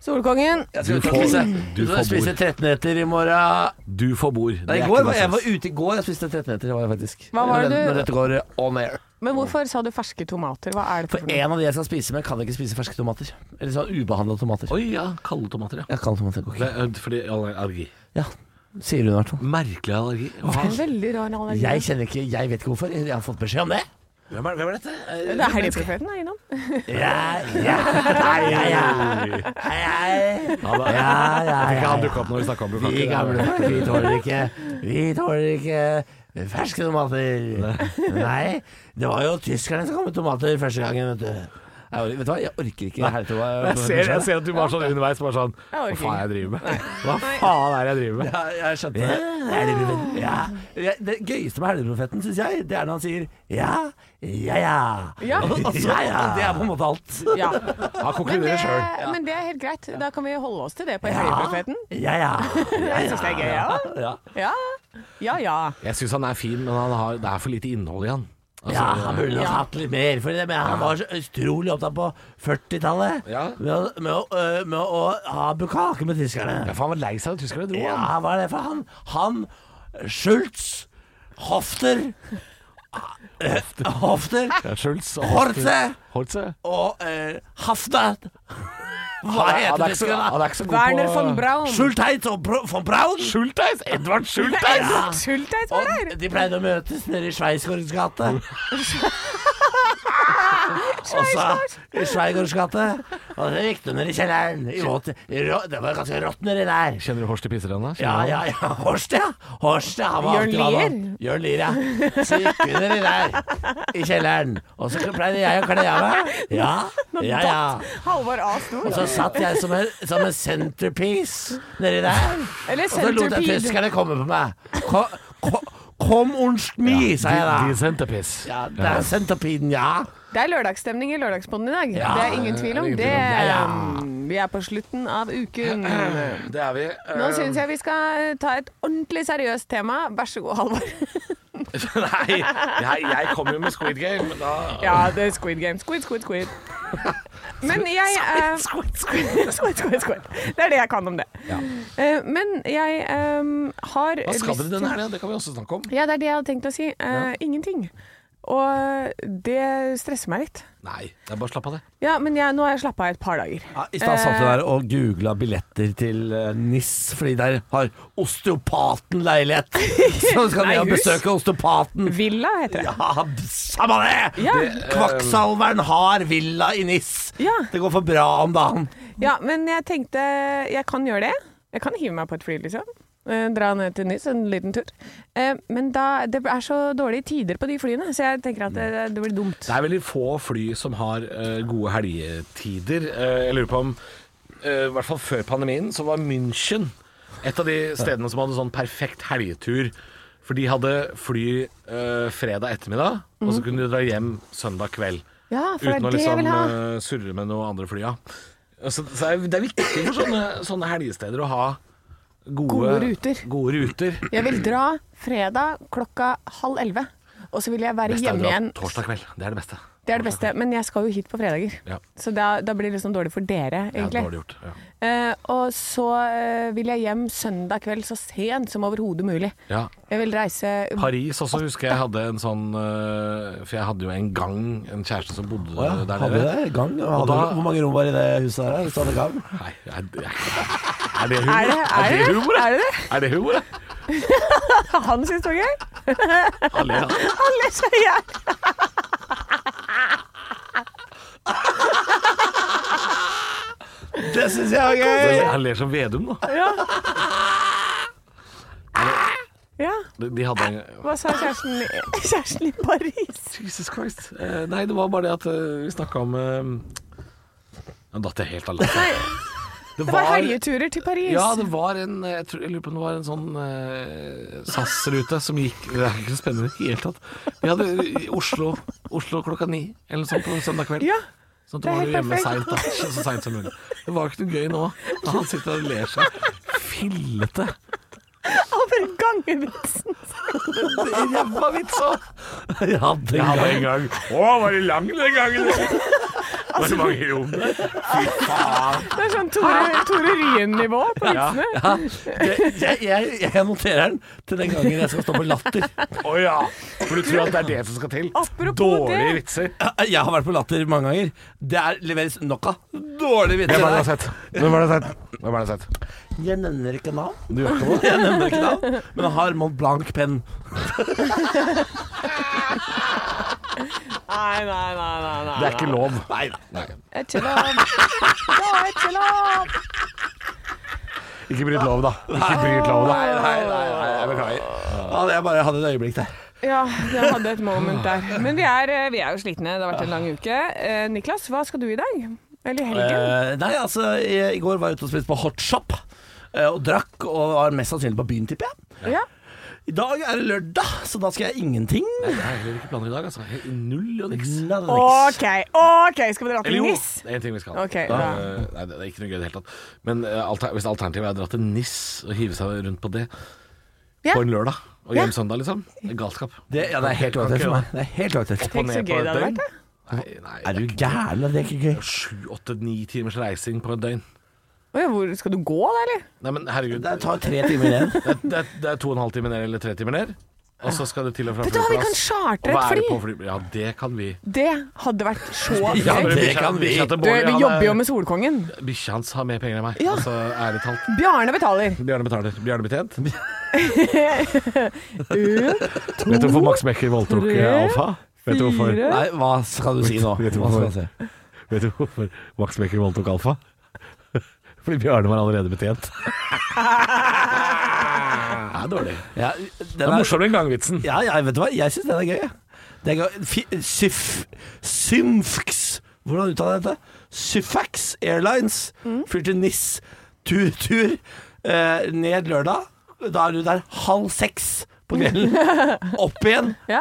Speaker 2: Solkongen.
Speaker 1: Jeg skal ut
Speaker 3: Du
Speaker 1: og
Speaker 3: får-
Speaker 1: spise.
Speaker 3: du
Speaker 1: Du
Speaker 3: får
Speaker 1: får spise
Speaker 3: bord.
Speaker 1: 13-heter i morgen.
Speaker 3: Du får bord. Det
Speaker 1: Nei,
Speaker 3: er
Speaker 1: i går,
Speaker 3: ikke noe
Speaker 1: var- jeg var
Speaker 3: stress.
Speaker 1: ute i går, jeg spiste 13-heter. var jeg faktisk.
Speaker 2: Hva var det
Speaker 1: Når-
Speaker 2: du-
Speaker 1: Når dette går on air.
Speaker 2: Men hvorfor sa du ferske tomater? Hva er det
Speaker 1: For
Speaker 2: for noe?
Speaker 1: en av de jeg skal spise med, kan jeg ikke spise ferske tomater. Eller sånn ubehandla tomater.
Speaker 3: Oi, ja. Kalde tomater, ja.
Speaker 1: Jeg kan tomater.
Speaker 3: Det er eh, fordi allergi.
Speaker 1: Ja, sier hun i hvert fall.
Speaker 3: Merkelig allergi. Hva?
Speaker 2: En veldig rar allergi.
Speaker 1: Jeg kjenner ikke, jeg vet ikke hvorfor. Jeg har fått beskjed om det.
Speaker 3: Hvem er, hvem er dette? Eh,
Speaker 2: Det er helgeprofeten er innom.
Speaker 1: Ja, ja, ja, ja, ja. Hei, hei. Ja, ja,
Speaker 3: Ikke
Speaker 1: ja,
Speaker 3: han
Speaker 1: ja.
Speaker 3: dukka opp når vi snakka om
Speaker 1: Vi gamle
Speaker 3: bukkake.
Speaker 1: folk, vi tåler ikke Vi tåler ikke ferske tomater. Nei, det var jo tyskerne som kom med tomater første gangen, vet du. Jeg, or- vet du hva, jeg orker ikke hele tida.
Speaker 3: Jeg ser, jeg ser at du var sånn underveis bare sånn Hva
Speaker 2: orker
Speaker 3: faen er det jeg driver med? Hva faen er det jeg driver med?
Speaker 1: Ja, jeg skjønte det. Ja. Ja, Det gøyeste med Helgeprofeten, syns jeg, det er når han sier ja, ja, ja.
Speaker 2: Ja.
Speaker 1: Og,
Speaker 3: altså,
Speaker 1: og så, Det er på en måte alt.
Speaker 2: Ja.
Speaker 3: Han
Speaker 2: Men det,
Speaker 3: konkluderer sjøl.
Speaker 2: men det er helt greit. Da kan vi holde oss til det på helgeprofeten.
Speaker 1: Ja, ja.
Speaker 2: Jeg syns det er gøy, jeg ja.
Speaker 1: ja.
Speaker 2: Ja. ja ja.
Speaker 3: Jeg syns han er fin, men han har, det er for lite innhold i han. Altså,
Speaker 1: Ja, han burde nok hatt litt mer, for det, men han var så utrolig opptatt på 40-tallet
Speaker 3: Ja.
Speaker 1: med, å- med, å, øh, med å ha bukkake med tyskerne.
Speaker 3: Ja, for han var lei seg av tyskerne, dro
Speaker 1: Ja,
Speaker 3: han.
Speaker 1: hva er det for han? Han, Schultz, Hofter Hofter, Hofter
Speaker 3: Schultz og
Speaker 1: Hortze
Speaker 3: Hortze.
Speaker 1: og øh, Hafner Hva
Speaker 3: Han er- han er
Speaker 1: heter
Speaker 3: ikke så- han
Speaker 1: tyskerne?
Speaker 3: er ikke så god
Speaker 2: Werner
Speaker 3: på-
Speaker 2: von Braun.
Speaker 1: Schultheis og Bro- von Braun?
Speaker 3: Schultheis! Edvard Schultheis!
Speaker 1: Ja.
Speaker 2: Sulteis var
Speaker 1: Og
Speaker 2: der!
Speaker 1: de pleide å møtes nede i Schweizgårds gate. Og så i Schweigårds gate. Og så gikk du ned i kjelleren. I våt, i rå, det var ganske rått nedi der.
Speaker 3: Kjenner du Horst i Pisserenn, da?
Speaker 1: Ja, ja, ja. Horst, ja. Horst, ja. Han var
Speaker 2: Jørn
Speaker 1: alltid hva han
Speaker 2: Lier?
Speaker 1: var. Jørn Lier, ja. Så gikk vi nedi der i kjelleren. Og så pleide jeg å kle av meg. Ja, ja, ja.
Speaker 2: Halvor A. Stor.
Speaker 1: Og så satt jeg som en, som en centerpiece nedi der.
Speaker 2: Eller
Speaker 1: Og så lot jeg
Speaker 2: centerpiece.
Speaker 1: tyskerne komme på meg. Kom, kom, kom unst mi, sa jeg da.
Speaker 3: De sendte piss.
Speaker 1: Ja, det er centerpiden, ja.
Speaker 2: Det er lørdagsstemning i Lørdagspodden i dag.
Speaker 1: Ja,
Speaker 2: det er ingen tvil om det.
Speaker 3: det er ingen tvil om
Speaker 1: det. Ja,
Speaker 2: um, Vi er på slutten av uken.
Speaker 3: Det er vi.
Speaker 2: Nå syns jeg vi skal ta et ordentlig seriøst tema. Vær så god, Halvor.
Speaker 3: Nei, jeg, jeg kom jo med Squid Game, men da
Speaker 2: Ja, det er Squid Game. Squid, squid, squid. Men jeg eh, Squid, squid, squid, squid. Det er det jeg kan om det. Eh, Men jeg eh, har
Speaker 3: Hva skal
Speaker 2: lyst
Speaker 3: dere
Speaker 2: til-
Speaker 3: denne helgen? Det kan vi også snakke om.
Speaker 2: Ja, det er det jeg hadde tenkt å si. Eh, Ingenting. Og det stresser meg litt.
Speaker 3: Nei, det er bare slapp av det.
Speaker 2: Ja, men jeg, nå har jeg slappa av et par dager.
Speaker 1: I stad satt du der og googla billetter til eh, NIS, fordi der har osteopaten leilighet. Så skal vi
Speaker 2: Nei,
Speaker 1: og
Speaker 2: hus.
Speaker 1: besøke osteopaten.
Speaker 2: Villa heter det.
Speaker 1: Ja, samme det!
Speaker 2: Ja.
Speaker 1: Det, eh, Kvakksalveren har villa i NIS.
Speaker 2: Ja.
Speaker 1: Det går for bra om dagen.
Speaker 2: Ja, men jeg tenkte jeg kan gjøre det. Jeg kan hive meg på et fly, liksom. Eh, Dra ned til Nis, en liten tur. Eh, Men da, det er så dårlige tider på de flyene, så jeg tenker at det,
Speaker 3: Mm.
Speaker 2: det blir dumt.
Speaker 3: Det er veldig få fly som har eh, gode helgetider. Eh, jeg lurer på om eh, I hvert fall før pandemien så var München et av de stedene som hadde sånn perfekt helgetur. For de hadde fly eh, fredag ettermiddag, og så kunne du dra hjem søndag kveld.
Speaker 2: Mhm. Ja, for det er
Speaker 3: Uten å
Speaker 2: det jeg
Speaker 3: liksom
Speaker 2: vil ha.
Speaker 3: eh, surre med noen andre fly, ja. Så, så er- det er viktig for sånne, sånne helgesteder å ha gode,
Speaker 2: Gode ruter.
Speaker 3: Gode ruter.
Speaker 2: Jeg vil dra fredag klokka halv elleve. Og så vil jeg være
Speaker 3: Best er å
Speaker 2: hjemme
Speaker 3: dra
Speaker 2: igjen.
Speaker 3: Torsdag kveld. Det er det beste.
Speaker 2: Det er det beste, men jeg skal jo hit på fredager.
Speaker 3: Ja.
Speaker 2: Så da, da blir det liksom dårlig for dere,
Speaker 3: Det er
Speaker 2: egentlig.
Speaker 3: dårlig gjort. Ja.
Speaker 2: Eh, og så eh, vil jeg hjem søndag kveld så sent som overhodet mulig.
Speaker 3: ja.
Speaker 2: Jeg vil reise
Speaker 3: Paris også husker jeg hadde en sånn øh, For jeg hadde jo en gang en kjæreste som bodde der
Speaker 1: Hadde
Speaker 3: nede.
Speaker 1: det gang?
Speaker 3: Og
Speaker 1: Hadde,
Speaker 3: da-
Speaker 1: hvor mange rom var i det huset her? Hvis du hadde gang?
Speaker 3: Nei, er, det- er det humor?
Speaker 2: Er det er det?
Speaker 3: humor?
Speaker 2: Er det,
Speaker 3: Er det humor?
Speaker 2: det? Han syns det var gøy.
Speaker 3: Alle, ja.
Speaker 2: Han ler seg i hjel.
Speaker 1: Det syns jeg var gøy!
Speaker 3: Han ler som Vedum, da.
Speaker 2: Ja.
Speaker 3: De- De hadde en
Speaker 2: Hva sa kjæresten, i- kjæresten i Paris?
Speaker 3: Jesus Christ. Eh, nei, det var bare det at eh, vi snakka om uh, Nå datt jeg helt av latter.
Speaker 2: Nei, det var helgeturer til Paris.
Speaker 3: Ja, det var en eh, Jeg, tror, jeg lurer på om det var en sånn eh, SAS-rute som gikk Det er ikke så spennende i det hele tatt. Vi hadde i Oslo, Oslo klokka ni eller noe sånt på søndag kveld.
Speaker 2: Ja.
Speaker 3: Sånn
Speaker 2: Det
Speaker 3: at du
Speaker 2: er
Speaker 3: var jo
Speaker 2: helt
Speaker 3: hjemme
Speaker 2: perfekt.
Speaker 3: seint, da. Så så sent som mulig. Det var jo ikke noe gøy nå. Da han sitter og ler seg fillete.
Speaker 2: Og den gangevitsen.
Speaker 3: Ræva vits òg!
Speaker 1: Jeg hadde en gang.
Speaker 3: Å, var det lang den gangen? Hvor mange rom det er.
Speaker 2: Det er sånn Tore, Tore Ryen-nivå på vitsene.
Speaker 1: Ah! Ja, det, jeg, jeg, jeg noterer den til den gangen jeg skal stå på latter.
Speaker 3: Å ja. For du tror at det er det som skal til?
Speaker 2: Apropos
Speaker 3: Dårlige
Speaker 2: det.
Speaker 3: vitser.
Speaker 1: Eh, Jeg har vært på latter mange ganger. Det er leveres nok av dårlige vitser
Speaker 3: Hvem er det du har
Speaker 1: der.
Speaker 3: sett? Hvem er det du har sett? Hvem er det du har sett?
Speaker 1: Jeg nevner ikke navn.
Speaker 3: Du gjør ikke noe?
Speaker 1: Jeg nevner ikke navn, men jeg har Mont Blanc-penn.
Speaker 2: Nei, nei, nei. nei, nei.
Speaker 3: Det er ikke lov.
Speaker 1: Nei da.
Speaker 2: Er ikke lov. Det er ikke lov.
Speaker 3: Ikke bryt lov, da. Ikke bryt lov, da.
Speaker 1: Nei, nei, nei, nei, jeg beklager. Ja, jeg bare hadde et øyeblikk der.
Speaker 2: Ja, jeg hadde et moment der. Men vi er, eh, vi er jo slitne. Det har vært en lang uke. Eh, Niklas, hva skal du i dag? Eller i helgen?
Speaker 1: Eh, nei, altså, i, i går var jeg ute og spiste på Hot Shop. eh, Og drakk, og var mest sannsynlig på byen, tipper jeg.
Speaker 2: ja.
Speaker 1: I dag er det lørdag, så da skal jeg ingenting.
Speaker 3: Jeg har heller ikke planer i dag, altså. Null og niks.
Speaker 1: Nei, det er niks.
Speaker 2: OK, OK, skal vi dra til
Speaker 3: Eller jo,
Speaker 2: Nis?
Speaker 3: det er en ting vi skal.
Speaker 2: Ok,
Speaker 3: Eh,
Speaker 2: bra.
Speaker 3: nei, det det er ikke noe gøy i det hele tatt. Men eh, alter, hvis alternativet er å dra til NIS og hive seg rundt på det
Speaker 2: Ja.
Speaker 3: på en lørdag og
Speaker 2: Ja.
Speaker 3: hjem søndag, liksom Det er Galskap.
Speaker 1: Det, ja, det er helt
Speaker 3: Kan
Speaker 1: uaktuelt
Speaker 3: ikke
Speaker 1: for meg. Det er helt uaktuelt.
Speaker 2: Tenk så
Speaker 3: ned på
Speaker 2: gøy det hadde
Speaker 3: et døgn.
Speaker 2: vært. da.
Speaker 3: Nei, nei,
Speaker 1: Er
Speaker 3: det
Speaker 1: du gæren? Det er ikke gøy.
Speaker 3: er sju, åtte, ni timers reising på et døgn.
Speaker 2: Å ja, hvor, skal du gå da, eller?
Speaker 3: Nei, men herregud.
Speaker 1: Det tar tre timer igjen.
Speaker 3: Det, er- det, er- det er to og en halv time ned eller tre timer ned. Og så skal du til og fra
Speaker 2: Vet du hva, vi kan chartre et
Speaker 3: og være
Speaker 2: fly!
Speaker 3: på fly. Ja, det kan vi.
Speaker 2: Det hadde vært så gøy.
Speaker 1: Ja, det
Speaker 3: Bikkja-
Speaker 1: kan vi.
Speaker 3: bikkja til
Speaker 2: Du,
Speaker 3: Bård,
Speaker 2: vi
Speaker 3: han
Speaker 2: jobber jo
Speaker 3: er-
Speaker 2: med Solkongen.
Speaker 3: Bikkja hans har mer penger enn meg.
Speaker 2: Ja.
Speaker 3: Altså, ærlig talt.
Speaker 2: Bjarne betaler.
Speaker 3: Bjarne betaler. Bjarne betjent.
Speaker 2: Ut,
Speaker 3: Vet du hvorfor Max Mekker voldtok
Speaker 2: tre,
Speaker 3: eh, Alfa? Vet du hvorfor?
Speaker 2: fire.
Speaker 1: Nei, hva skal du si nå?
Speaker 3: Vet du
Speaker 1: Hva skal jeg si?
Speaker 3: hvorfor? Vet du hvorfor Max Becker voldtok Alfa? Fordi Bjarne var allerede betjent. det er dårlig.
Speaker 1: Ja,
Speaker 3: Det
Speaker 1: den er,
Speaker 3: er morsomt den gangvitsen.
Speaker 1: ja, ja, vet du hva? Jeg syns den er gøy. jeg. Det er gøy. Fi- Syf, Symfx Hvordan uttaler jeg dette? Syfax Airlines
Speaker 2: Mm.
Speaker 1: flyr til NIS. Tur, tur. eh, ned lørdag. Da er du der halv seks på kvelden. Opp igjen
Speaker 2: Ja.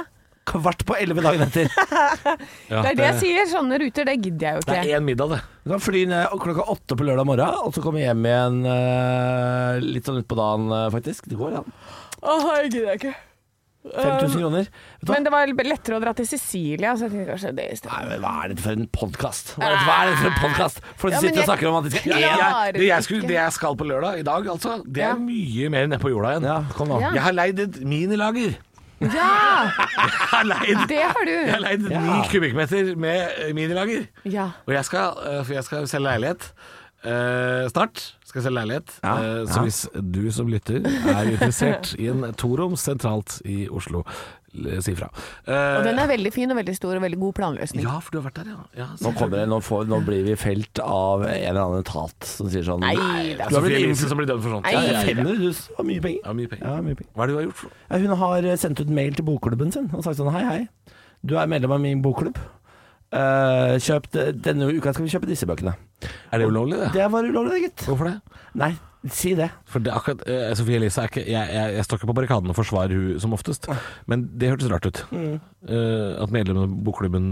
Speaker 1: kvart på elleve dagen etter.
Speaker 2: Det er det jeg sier. Sånne ruter, det gidder jeg jo
Speaker 3: Det
Speaker 2: ikke.
Speaker 3: er én middag, det.
Speaker 1: Du kan fly ned klokka åtte på lørdag morgen, og så komme hjem igjen eh, litt sånn utpå dagen, eh, faktisk. Det går an.
Speaker 2: Åh, jeg gidder ikke.
Speaker 1: 5000 kroner. Vet du hva?
Speaker 2: Men det var lettere å dra til Sicilia, så jeg tenkte kanskje det i stedet.
Speaker 1: Nei, men hva er dette for en podkast? Hva, er det- hva er dette for en podkast? For
Speaker 2: Ah. Ja,
Speaker 1: du
Speaker 2: men
Speaker 1: sitter og
Speaker 2: jeg-
Speaker 1: snakker om at de skal
Speaker 2: Ja.
Speaker 1: én
Speaker 2: Klarer
Speaker 3: det, jeg
Speaker 2: ikke.
Speaker 3: skulle, det jeg skal på lørdag i dag, altså, det
Speaker 2: Ja.
Speaker 3: er mye mer nede på jorda igjen.
Speaker 1: Ja, kom nå.
Speaker 2: Ja.
Speaker 3: Jeg har leid et minilager.
Speaker 2: Ja,
Speaker 3: Jeg har leid,
Speaker 2: det har
Speaker 3: jeg har
Speaker 2: du.
Speaker 3: leid
Speaker 1: Ja.
Speaker 3: ni kubikkmeter med eh, minilager.
Speaker 2: Ja.
Speaker 3: Og jeg skal, eh, for jeg skal selge leilighet eh, snart. Skal jeg selge leilighet.
Speaker 1: Ja,
Speaker 3: Eh, så
Speaker 1: ja.
Speaker 3: hvis du som lytter er interessert i en torom sentralt i Oslo, l- si fra. Eh,
Speaker 2: Og den er veldig fin og veldig stor og veldig god planløsning.
Speaker 3: ja, for du har vært der, ja. ja
Speaker 1: Nå, kommer det, nå, får, nå blir vi felt av en eller annen etat som sier sånn
Speaker 2: Nei,
Speaker 1: du
Speaker 2: det er
Speaker 1: har blitt
Speaker 3: Sofie
Speaker 1: innflyttet.
Speaker 3: Elise som blir dømt for sånt.
Speaker 2: Nei.
Speaker 1: Ja,
Speaker 3: Ja, ja, ja.
Speaker 1: 500 000 var mye penger.
Speaker 3: Ja, mye penger.
Speaker 1: Ja, mye penger.
Speaker 3: Hva er det du har gjort for noe?
Speaker 1: Ja, hun har eh, sendt ut mail til bokklubben sin og sagt sånn hei, hei. Du er medlem av min bokklubb. Eh, kjøp, denne uka skal vi kjøpe disse bøkene.
Speaker 3: Er det ulovlig, det?
Speaker 1: Det var ulovlig, gitt.
Speaker 3: Hvorfor det?
Speaker 1: Nei, si det.
Speaker 3: For det er akkurat, eh, Sofie Elise er ikke Jeg, jeg, jeg står ikke på barrikaden og forsvarer hun som oftest,
Speaker 1: Ah.
Speaker 3: men det hørtes rart ut.
Speaker 1: Mm.
Speaker 3: Eh, at medlemmene av bokklubben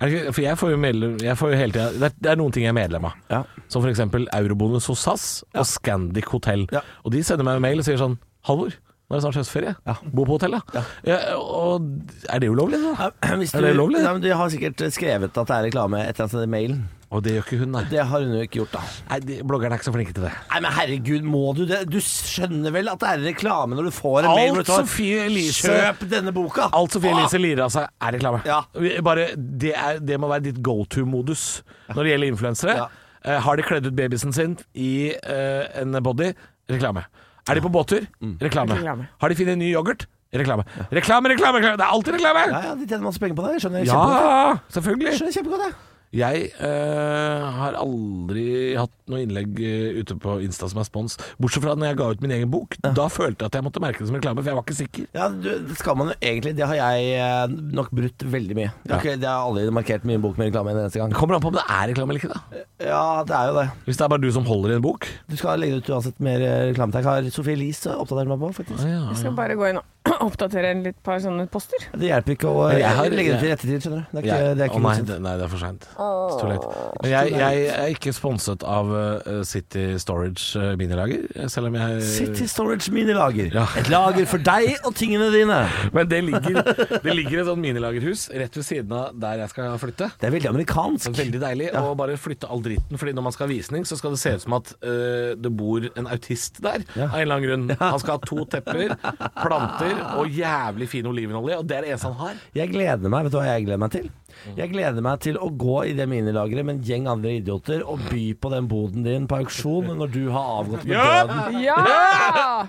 Speaker 3: er det ikke, For jeg får jo medlem jeg får jo hele tida det, er- det er noen ting jeg er medlem av.
Speaker 1: Ja.
Speaker 3: Som f.eks. eurobonus hos SAS og Scandic hotell.
Speaker 1: Ja.
Speaker 3: Og de sender meg en mail og sier sånn Halvor, nå er det snart høstferie.
Speaker 1: Ja.
Speaker 3: Bo på hotell, da. Ja, og er det ulovlig, da?
Speaker 1: Hvis
Speaker 3: Er det ulovlig?
Speaker 1: Nei, men de har sikkert skrevet at det er reklame etter at de sendte mailen.
Speaker 3: Og det gjør ikke hun, nei.
Speaker 1: Det har hun jo ikke gjort, da.
Speaker 3: nei de, bloggerne er ikke så flinke til det.
Speaker 1: Nei, men herregud, må du det? Du skjønner vel at det er reklame når du får en mail hvor
Speaker 3: Alt
Speaker 1: det står
Speaker 3: Sofie Elise
Speaker 1: Kjøp denne boka!
Speaker 3: Alt Sofie
Speaker 1: Ah!
Speaker 3: Elise lirer av seg, er reklame.
Speaker 1: Ja.
Speaker 3: Vi- Bare, det, er, det må være ditt go to-modus når det gjelder influensere.
Speaker 1: Ja.
Speaker 3: Eh, har de kledd ut babysen sin i eh, en body? Reklame. Er de på båttur?
Speaker 1: Mm.
Speaker 3: Reklame.
Speaker 2: Reklame.
Speaker 3: Har de funnet en ny yoghurt? Reklame. Reklame, reklame, reklame! Det er alltid reklame!
Speaker 1: Ja, ja, de tjener masse penger på det. Jeg skjønner
Speaker 3: Ja,
Speaker 1: kjempegodt. Jeg
Speaker 3: selvfølgelig.
Speaker 1: skjønner kjempegodt, jeg.
Speaker 3: Jeg eh, har aldri hatt noe innlegg eh, ute på Insta som er spons, bortsett fra når jeg ga ut min egen bok. Da følte jeg at jeg måtte merke det som reklame, for jeg var ikke sikker.
Speaker 1: Ja, du, det skal man jo egentlig. Det har jeg eh, nok brutt veldig mye. Jeg har, ikke, jeg har aldri markert min bok med reklame en eneste gang.
Speaker 3: Det kommer an på om det er reklame eller ikke. da
Speaker 1: Ja, det er jo det.
Speaker 3: Hvis det er bare du som holder i en bok.
Speaker 1: Du skal legge ut uansett mer eh, reklame. Jeg har Sophie Elise oppdatert meg på, faktisk.
Speaker 2: Jeg skal bare gå inn og oppdatere en litt par sånne poster.
Speaker 1: Det hjelper ikke å
Speaker 3: Jeg har-
Speaker 1: legge det til rette tid, skjønner du. Det er ikke, det er ikke
Speaker 3: Å nei,
Speaker 1: godkjent.
Speaker 3: det, nei, det er for seint. It's too late. Men jeg, jeg er ikke sponset av eh, City Storage eh, minilager, selv om jeg
Speaker 1: City Storage minilager.
Speaker 3: Ja.
Speaker 1: Et lager for deg og tingene dine.
Speaker 3: Men det ligger, det ligger et sånt minilagerhus rett ved siden av der jeg skal flytte.
Speaker 1: Det er veldig
Speaker 3: Så
Speaker 1: amerikansk.
Speaker 3: Veldig deilig å bare flytte all dritten, Fordi når man skal ha visning, så skal det se ut som at eh, det bor en autist der. Av en eller annen grunn. Han skal ha to tepper, planter og jævlig fin olivenolje, og det er det eneste han har.
Speaker 1: Jeg gleder meg, vet du hva jeg gleder meg til? Jeg gleder meg til å gå i det minilageret med en gjeng andre idioter og by på den boden din på auksjon når du har avgått med døden.
Speaker 2: Ja!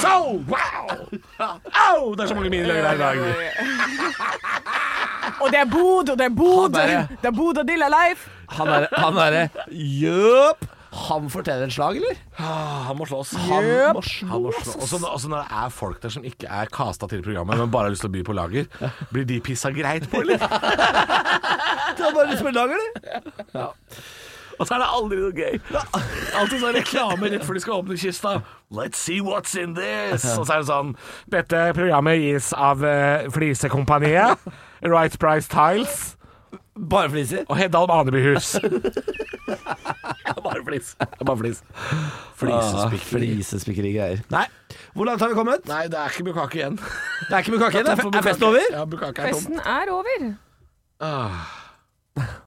Speaker 3: So, wow! Au, det er så mange minilager her i dag.
Speaker 2: Og det er bod, og det er bod!
Speaker 1: Han bare-
Speaker 2: Det er bod og Dilla Leif.
Speaker 1: Han er- Han derre Jøp! Han fortjener et slag, eller?
Speaker 3: Ah, Han må slåss.
Speaker 1: Han
Speaker 2: Jøp.
Speaker 1: må slås.
Speaker 3: Han må slå. Også, når- også når det er folk der som ikke er kasta til programmet, men bare har lyst til å by på lager, blir de pissa greit på, eller?
Speaker 1: Det er bare lyst på et lager, det.
Speaker 3: Og så er det aldri noe gøy. Alltid sånn reklame rett før de skal åpne kista. Let's see what's in this. Og så er det sånn Dette programmet gis av eh, Flisekompaniet. Right Price Tiles
Speaker 1: Bare fliser.
Speaker 3: og Heddal Banebyhus. Bare flis. Bare flis. Ah, Flisespikkeri.
Speaker 1: Flisespikkeri-greier. Nei. Hvor langt har vi kommet?
Speaker 3: Ah. Nei, det er ikke bukake igjen.
Speaker 1: Det er ikke mukake igjen. Er festen over?
Speaker 3: Ja, bukake er tom.
Speaker 2: Festen er over.
Speaker 3: Ah.